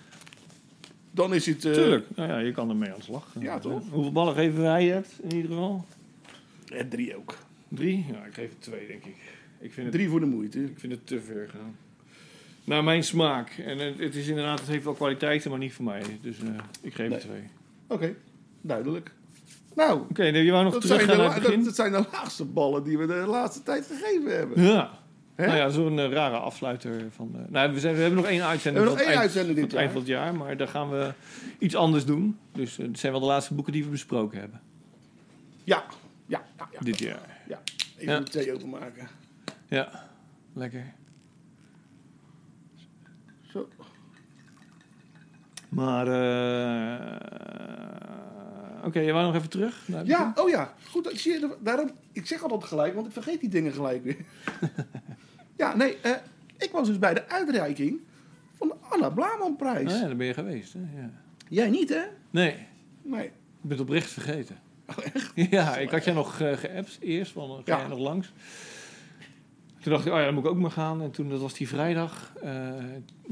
dan is het. eh,
Tuurlijk. Nou ja, je kan ermee aan de slag.
Ja, toch?
Hoeveel ballen geven wij het in ieder geval?
En drie ook.
Drie? Ja, ik geef het twee, denk ik. Ik vind het,
Drie voor de moeite.
ik vind het te ver gaan. Naar mijn smaak. En het, het is inderdaad, het heeft wel kwaliteiten, maar niet voor mij. Dus eh, ik geef
Nee.
het twee.
Oké. duidelijk. Nou,
Oké, je wou nog
dat
terug
zijn, de,
gaan naar
la-
het
dat,
begin.
dat zijn de laatste ballen die we de laatste tijd gegeven hebben. We
Ja.
Hè?
Nou ja, zo'n eh, rare afsluiter van... eh, nou, we, zijn, we hebben nog één uitzending van
hebben nog
het
één
eind-
uitzending
van het
dit
eind
jaar.
van het jaar, maar daar gaan we iets anders doen. Dus eh, het zijn wel de laatste boeken die we besproken hebben
Ja, ja, ja. ja.
dit jaar.
ja. Even
Ja.
de thee openmaken.
Ja, lekker.
Zo.
Maar, eh, oké, je wou nog even terug? naar het
Ja,
begin?
oh ja. Goed, dat- zie je, daarom, ik zeg altijd gelijk, want ik vergeet die dingen gelijk weer. ja, nee, eh, ik was dus bij de uitreiking van de Anna Blamanprijs.
Ah, ja, daar ben je geweest. Hè? Ja.
Jij niet, hè?
Nee, ik
Nee.
ben het oprecht vergeten. Ja, ik had jij nog eh, geappt eerst, van eh, ga
Oh, Ja.
jij nog langs? Toen dacht ik, oh ja, dan moet ik ook maar gaan. En toen, dat was die vrijdag, eh,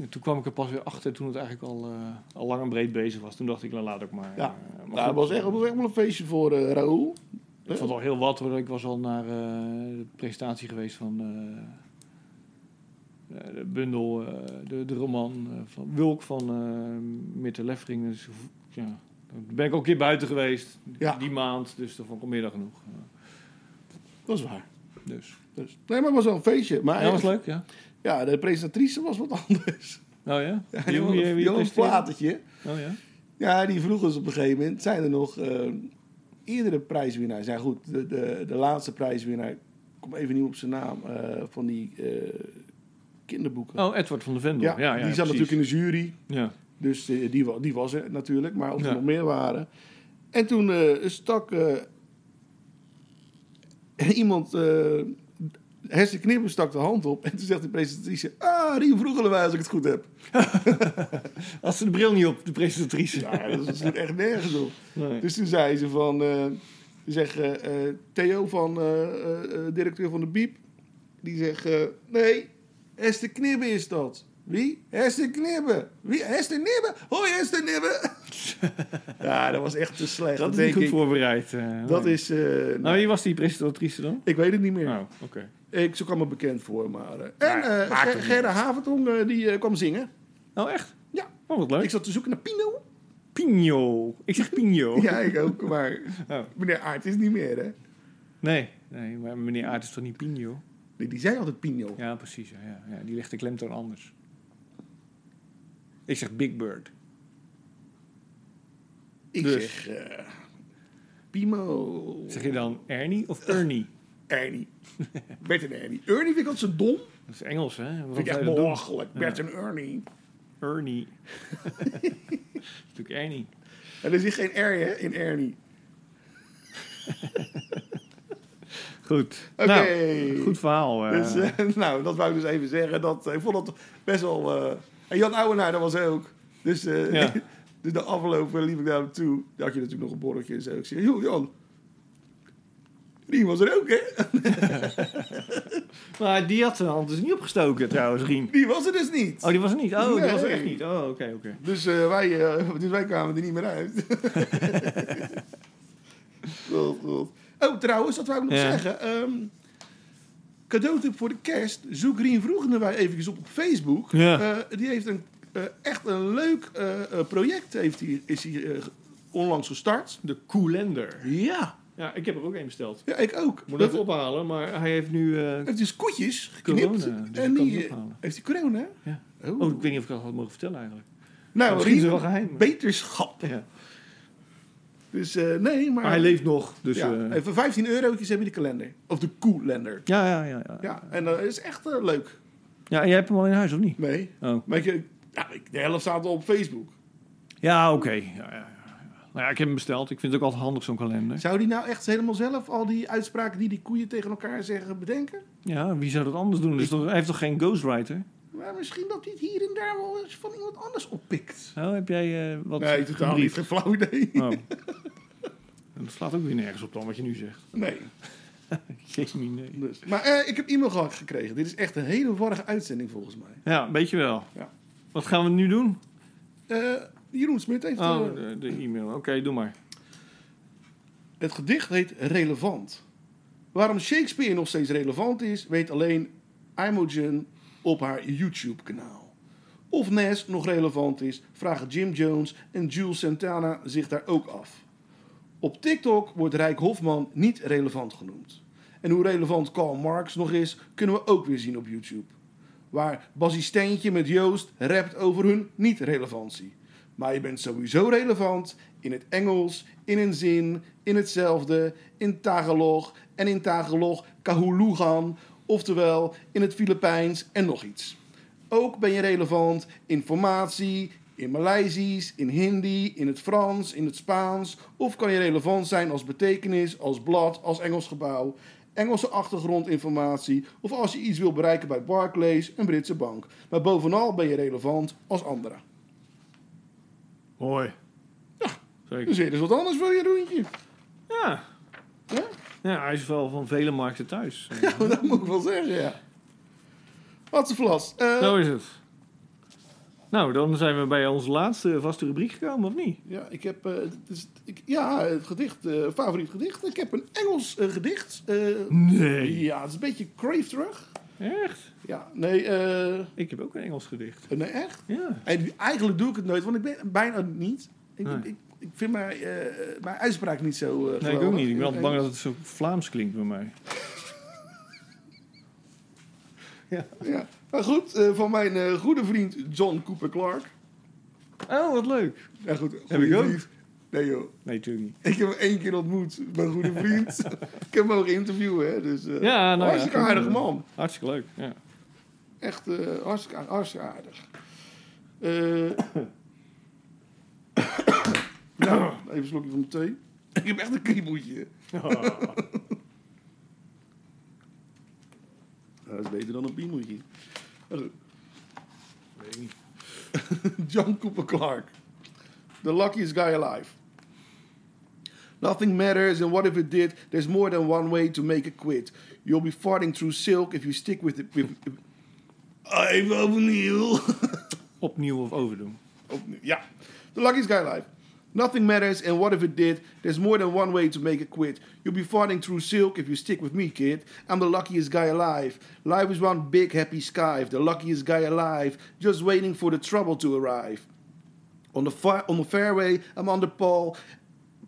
toen kwam ik er pas weer achter toen het eigenlijk al, eh, al lang en breed bezig was. Toen dacht ik, nou laat ik maar.
Ja.
eh, maar
Nou,
goed.
dat was echt, dat was echt wel een feestje voor eh Raoul.
Ik vond al heel wat hoor. Ik was al naar eh, de presentatie geweest van eh, eh, de bundel, eh, de, de roman eh, van Wulk van eh Mitte Leffering. Dus, ja, daar ben ik ook een keer buiten geweest
Ja.
die maand, dus dat vond ik al meer dan genoeg.
Dat is waar.
Dus
Dus, nee, maar het was wel een feestje. Maar
Ah, ja, was leuk, ja.
Ja, de presentatrice was wat anders.
Oh ja?
Ja,
Wie-
die
wie- wie
Johan
presteerde?
Platertje.
Oh ja?
Ja, die vroeg ons op een gegeven moment. Zijn er nog eh, eerdere prijswinnaars? Ja, goed, de, de, de laatste prijswinnaar, ik kom even niet op zijn naam, eh, van die eh, kinderboeken.
Oh, Edward van de Vendel. Ja,
ja,
ja,
die zat
precies.
natuurlijk in de jury,
Ja.
dus eh, die, wa- die was er natuurlijk, maar of er
Ja.
nog meer waren. En toen eh, stak eh, iemand, eh Hester Knippen stak de hand op en toen zegt de presentatrice, ah, die vroegen wij als ik het goed heb.
Had ze de bril niet op, de presentatrice.
Ja, dat is natuurlijk echt nergens op.
Nee.
Dus toen zei ze van... eh, zeg, eh, eh, Theo van, eh, eh, eh, directeur van de Biep... Die zegt... eh, nee, Hester Knibbe is dat. Wie? Hester Knibbe. Wie? Hester Knibbe. Hoi, Hester Knibbe. ja, dat was echt te slecht.
dat is
denk
niet goed
ik.
voorbereid. eh,
Dat
nee.
is... eh,
Nou, wie was die presentatrice dan?
ik weet het niet meer.
Nou, oké.
Ik, ze kwam me bekend voor, maar... eh, en eh
maakt
Ger-
het niet
Gerda Havertong, eh, die eh, kwam zingen.
Nou, echt?
Ja.
Oh, wat leuk.
Ik zat te zoeken naar Pino.
Pino. Ik zeg Pino.
Ja, ik ook, maar...
Oh.
Meneer Aert is niet meer, hè?
Nee, nee, maar meneer Aert is toch niet Pino?
Nee, die zei altijd Pino.
Ja, precies. Ja, ja, ja, die legt de klemtoon anders. Ik zeg Big Bird.
Ik
Dus.
zeg... eh, Pimo.
Zeg je dan Ernie of Ernie?
Ernie. Bert en Ernie. Ernie vind ik altijd zo dom.
Dat is Engels, hè? Waarom
Vind ik echt
zou je dat doen?
belachelijk. Bert en Ernie.
Ernie. Dat is natuurlijk Ernie.
En er zit geen R hè, in Ernie.
Goed.
Oké.
Nou, goed verhaal. eh.
Dus, eh, nou, dat wou ik dus even zeggen. Dat, ik vond dat best wel... eh, en Jan Ouwenaar, dat was hij ook. Dus, eh,
Ja.
dus de afgelopen liep ik naar hem toe. Daar had je natuurlijk nog een borreltje en zo. Ik zei, joh Jan... Die was er ook, hè?
Maar die had zijn hand dus niet opgestoken, trouwens, Rien.
Die was er dus niet.
Oh, die was er niet? Oh, die was er
Nee.
echt niet. Oh, oké, oké.
Dus, eh, wij, eh, dus wij kwamen er niet meer uit. Goed, goed. Oh, trouwens, dat wou ik nog
Ja.
zeggen. Ehm cadeautip voor de kerst. Zoek Rien vroegen wij eventjes op op Facebook.
Ja.
Eh, die heeft een, eh, echt een leuk eh, eh, project. Heeft die, is hij eh, onlangs gestart.
De Koelender.
Ja.
Ja, ik heb er ook één besteld.
Ja, ik ook.
Moet
Dat-
even ophalen, maar hij heeft nu... eh,
heeft dus koetjes geknipt.
Corona, dus
en
ik kan
die,
het
eh,
ophalen.
heeft hij corona?
Ja.
Oh.
Oh, ik weet niet of ik dat had mogen vertellen eigenlijk.
nou,
misschien is het
Rien,
wel geheim, maar-
Beterschap.
Ja.
Dus eh, nee, maar...
Maar hij leeft nog, dus...
ja,
eh,
even 15 eurotjes hebben we de kalender. Of de koelender.
ja, ja, ja, ja.
Ja, en dat is echt eh, leuk.
Ja, en jij hebt hem al in huis, of niet?
Nee.
Oh.
Maar ik, ja, ik- de helft staat al op Facebook.
Ja, oké. Ja, ja, ja. Nou ja, ik heb hem besteld. Ik vind het ook altijd handig, zo'n kalender.
Zou die nou echt helemaal zelf al die uitspraken die die koeien tegen elkaar zeggen bedenken?
Ja, wie zou dat anders doen? Dus toch, hij heeft toch geen ghostwriter?
Maar misschien dat hij het hier en daar wel eens van iemand anders oppikt.
Oh, heb jij eh, wat
Nee, totaal niet.
gebriefd?
Geen flauw idee.
Oh. Dat slaat ook weer nergens op dan, wat je nu zegt.
Nee.
Jamie, nee.
Dus. Maar eh, ik heb e-mail gehad gekregen. Dit is echt een hele warrige uitzending volgens mij.
Ja, weet je wel.
Ja.
Wat gaan we nu doen?
Eh, Jeroen Smit heeft... eh,
Oh, de, de e-mail. Oké, doe maar.
Het gedicht heet Relevant. Waarom Shakespeare nog steeds relevant is, weet alleen Imogen op haar YouTube-kanaal. Of Nes nog relevant is, vragen Jim Jones en Jules Santana zich daar ook af. Op TikTok wordt Rijk Hofman niet relevant genoemd. En hoe relevant Karl Marx nog is, kunnen we ook weer zien op YouTube. Waar Basie Steentje met Joost rapt over hun niet-relevantie. Maar je bent sowieso relevant in het Engels, in een zin, in hetzelfde, in Tagalog en in Tagalog Kahulugan, oftewel in het Filipijns en nog iets. Ook ben je relevant in formatie, in Maleisisch, in Hindi, in het Frans, in het Spaans. Of kan je relevant zijn als betekenis, als blad, als Engels gebouw, Engelse achtergrondinformatie. Of als je iets wil bereiken bij Barclays, een Britse bank. Maar bovenal ben je relevant als anderen.
Hoi. Ja,
Dus
zeker.
weer is wat anders voor je roentje.
Ja.
Ja?
ja, hij is wel van vele markten thuis.
Nou, dat moet ik wel zeggen, ja. Wat een vlas. Eh,
Zo is het. Nou, dan zijn we bij onze laatste vaste rubriek gekomen, of niet?
Ja, ik heb, eh, het is- ik, ja, het gedicht, eh, favoriet gedicht. Ik heb een Engels eh, gedicht. eh,
Nee.
Ja, het is een beetje crave terug.
Echt?
Ja, nee, eh,
Ik heb ook een Engels gedicht.
nee echt.
Ja.
En eigenlijk doe ik het nooit, want ik ben bijna niet. Ik,
Nee.
ik, ik vind mijn, eh, mijn uitspraak niet zo. eh,
Nee, ik ook
geweldig.
niet. Ik ben altijd bang dat het zo Vlaams klinkt bij mij.
Ja. Maar goed, eh, van mijn eh, goede vriend John Cooper Clark.
Oh, wat leuk.
Ja, goed.
ik
goede
ook?
vriend. Nee, joh.
Nee, natuurlijk niet.
Ik heb hem één keer ontmoet, mijn goede vriend. ik heb hem mogen interviewen, hè. Dus, eh,
Ja, nou
hartstikke
ja.
aardig man.
Hartstikke leuk. Ja.
Echt eh, hartstikke, aardig- hartstikke aardig. Eh, nou, even een slokje van de thee. Ik heb echt een kriebeltje. Nou, dat is beter dan een piemeltje. Maar goed. John Cooper Clark. The luckiest guy alive. Nothing matters, and what if it did? There's more than one way to make it quit. You'll be farting through silk if you stick with it. With, even overnieuw.
Opnieuw of overdoen.
Opnieuw, Ja. Oh, The luckiest guy alive. Nothing matters, and what if it did? There's more than one way to make it quit. You'll be farting through silk if you stick with me, kid. I'm the luckiest guy alive. Life is one big happy sky. The luckiest guy alive, just waiting for the trouble to arrive. On the fi- on the fairway, I'm on the pole.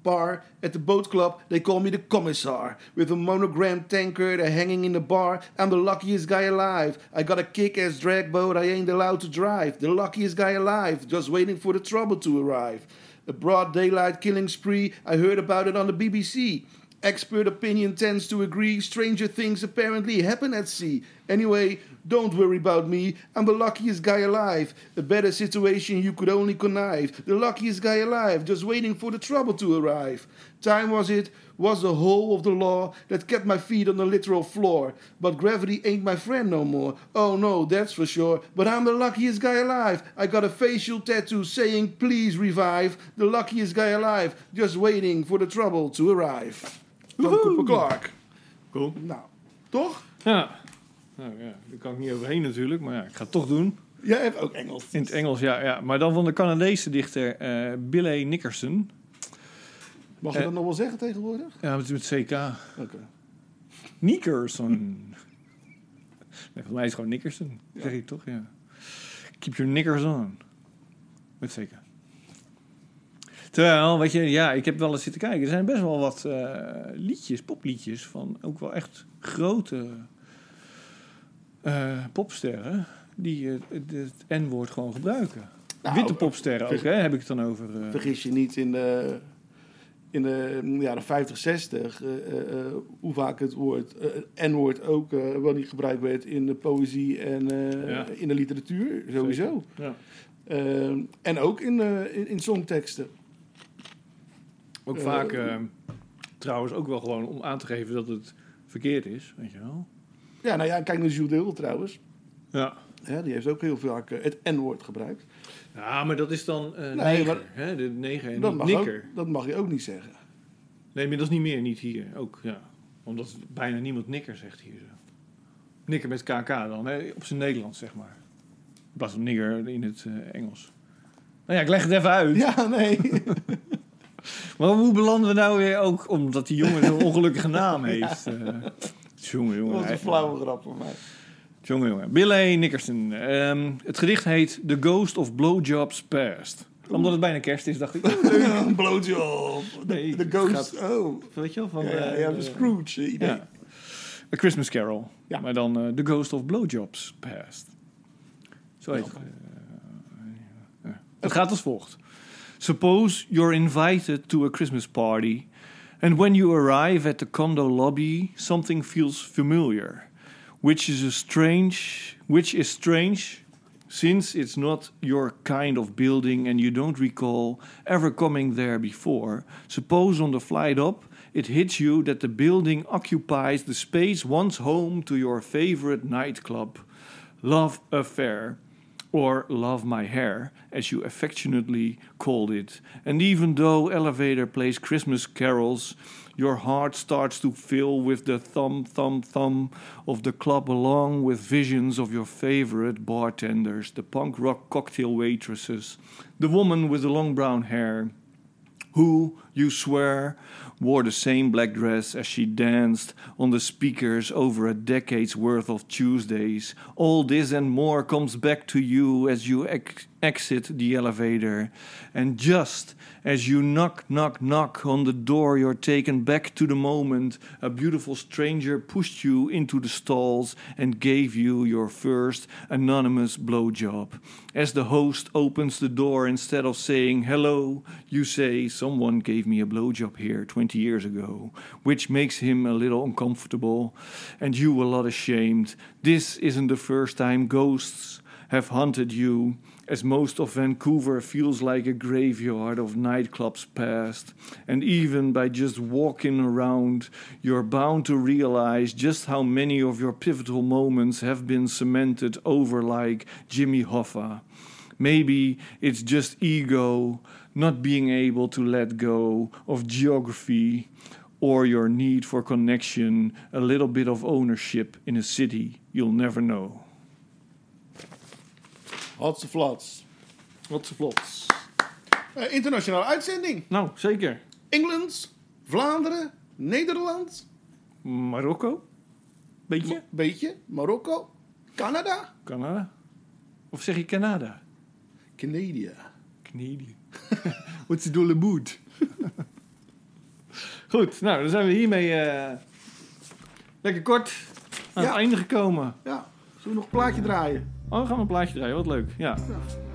Bar at the boat club, they call me the commissar. With a monogram tanker, they're hanging in the bar. I'm the luckiest guy alive. I got a kick-ass drag boat, I ain't allowed to drive. The luckiest guy alive, just waiting for the trouble to arrive. A broad daylight killing spree, I heard about it on the BBC. Expert opinion tends to agree. Stranger things apparently happen at sea. Anyway, don't worry about me. I'm the luckiest guy alive. A better situation you could only connive. The luckiest guy alive, just waiting for the trouble to arrive. Time was it, was the whole of the law that kept my feet on the literal floor. But gravity ain't my friend no more. Oh no, that's for sure. But I'm the luckiest guy alive. I got a facial tattoo saying, please revive. The luckiest guy alive, just waiting for the trouble to arrive. Van Cooper Clark.
Cool.
Nou, toch?
Ja. Nou ja, daar kan ik niet overheen natuurlijk, maar ja, ik ga het toch doen.
Jij hebt ook Engels.
In het Engels, ja. ja. Maar dan van de Canadese dichter eh Billy Nickerson.
Mag je dat nog wel zeggen tegenwoordig?
Ja, met, met CK.
Oké.
Nickerson. Nee, volgens mij is het gewoon Nickerson. Zeg ik toch, ja. Keep your knickers on. Met zeker. Terwijl, weet je, ja, ik heb wel eens zitten kijken. Er zijn best wel wat eh, liedjes, popliedjes van ook wel echt grote eh, popsterren. Die eh, het- het N-woord gewoon gebruiken.
Nou,
Witte popsterren ook, hè, heb ik het dan over. eh.
Vergis je niet in de, in de mm, jaren 50, 60, eh, eh, eh, hoe vaak het woord eh, N-woord ook eh, wel niet gebruikt werd in de poëzie en eh,
Ja.
in de literatuur, sowieso.
ja.
Ehm, en ook in, eh, in, in songteksten.
Ook
Eh,
vaak, eh, trouwens, ook wel gewoon om aan te geven dat het verkeerd is, weet je wel.
Ja, nou ja, kijk naar Jules Deul trouwens.
Ja.
Ja, die heeft ook heel vaak eh, het N-woord gebruikt.
Ja, maar dat is dan eh neger,
maar-
hè? De neger en
Dat
niet
mag,
nikker.
ook, dat mag je ook niet zeggen.
Nee, maar dat is niet meer, niet hier ook, ja. Omdat bijna niemand nikker zegt hier zo. Nikker met kk dan, hè? op zijn Nederlands, zeg maar. In plaats van nigger in het eh, Engels. Nou ja, ik leg het even uit.
Ja, nee.
Maar hoe belanden we nou weer ook, omdat die jongen zo'n ongelukkige naam heeft. eh jongen, jongen.
dat was
hij-
een flauwe grap van mij.
Jongen, jongen. Billy Nickerson. Ehm, het gedicht heet The Ghost of Blowjobs Past. Omdat het bijna kerst is, dacht ik. oh,
Een blowjob.
Nee,
De
het
ghost. Oh.
Weet je wel? Van,
Ja, ja,
eh,
ja,
de-
Scrooge. eh, idee.
Ja. A Christmas Carol.
Ja.
Maar dan eh, The Ghost of Blowjobs Past. Zo heet het. Eh, eh. Het gaat als volgt. Suppose you're invited to a Christmas party... and when you arrive at the condo lobby... something feels familiar. Which is a strange... Which is strange... Since it's not your kind of building and you don't recall ever coming there before, suppose on the flight up it hits you that the building occupies the space once home to your favorite nightclub, Love Affair, or Love My Hair, as you affectionately called it. And even though Elevator plays Christmas carols, your heart starts to fill with the thump, thump, thump of the club, along with visions of your favorite bartenders, the punk rock cocktail waitresses, the woman with the long brown hair, who, you swear, wore the same black dress as she danced on the speakers over a decade's worth of Tuesdays. All this and more comes back to you as you ex- exit the elevator. And just as you knock, knock, knock on the door, you're taken back to the moment a beautiful stranger pushed you into the stalls and gave you your first anonymous blowjob. As the host opens the door, instead of saying hello, you say, Someone gave me a blowjob here 20 years ago, which makes him a little uncomfortable and you a lot ashamed. This isn't the first time ghosts have haunted you, as most of Vancouver feels like a graveyard of nightclubs past. And even by just walking around, you're bound to realize just how many of your pivotal moments have been cemented over like Jimmy Hoffa. Maybe it's just ego, not being able to let go of geography or your need for connection, a little bit of ownership in a city you'll never know.
Hotse flats.
Wat ze vlots.
Eh, internationale uitzending.
Nou, zeker.
Engeland, Vlaanderen, Nederland,
Marokko? Beetje?
een beetje, Marokko, Canada,
Canada? Of zeg je Canada?
Canada.
Canadië. What's the dolle boot? Goed, nou, dan zijn we hiermee eh, lekker kort aan
Ja.
het einde gekomen.
Ja, zullen we nog een plaatje draaien?
Oh, we gaan een plaatje draaien, wat leuk. Ja.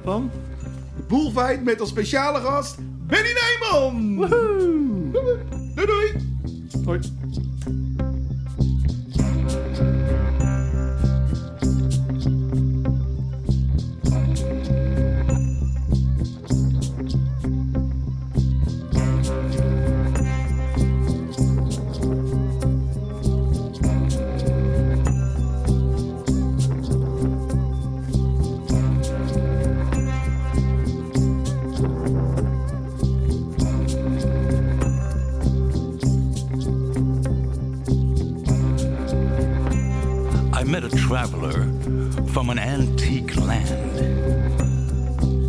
Van?
De Bullfight met als speciale gast Benny Nijman.
Woehoe!
Doei doei.
Hoi.
I met a traveler from an antique land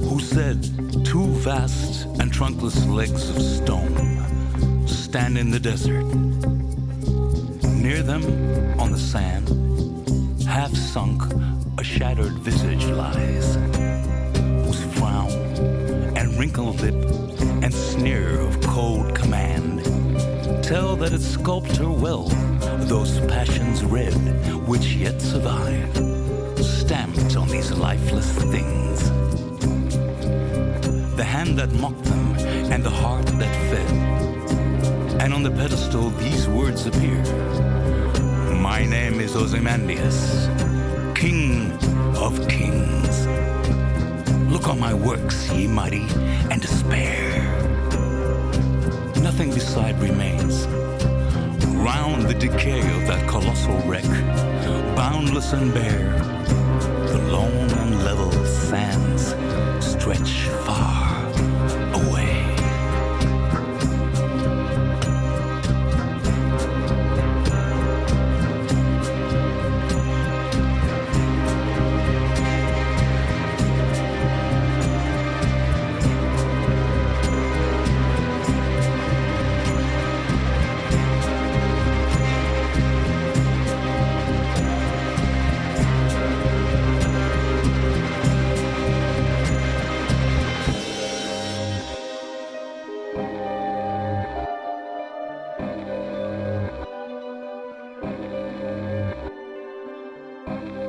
who said two vast and trunkless legs of stone stand in the desert. Near them, on the sand, half sunk, a shattered visage lies, whose frown and wrinkled lip and sneer of cold command tell that it sculpted her well those passions red which yet survive stamped on these lifeless things the hand that mocked them and the heart that fed and on the pedestal these words appear my name is ozymandias king of kings look on my works ye mighty and despair Nothing beside remains. Round the decay of that colossal wreck, boundless and bare, the lone and level sands stretch far away.
Thank you.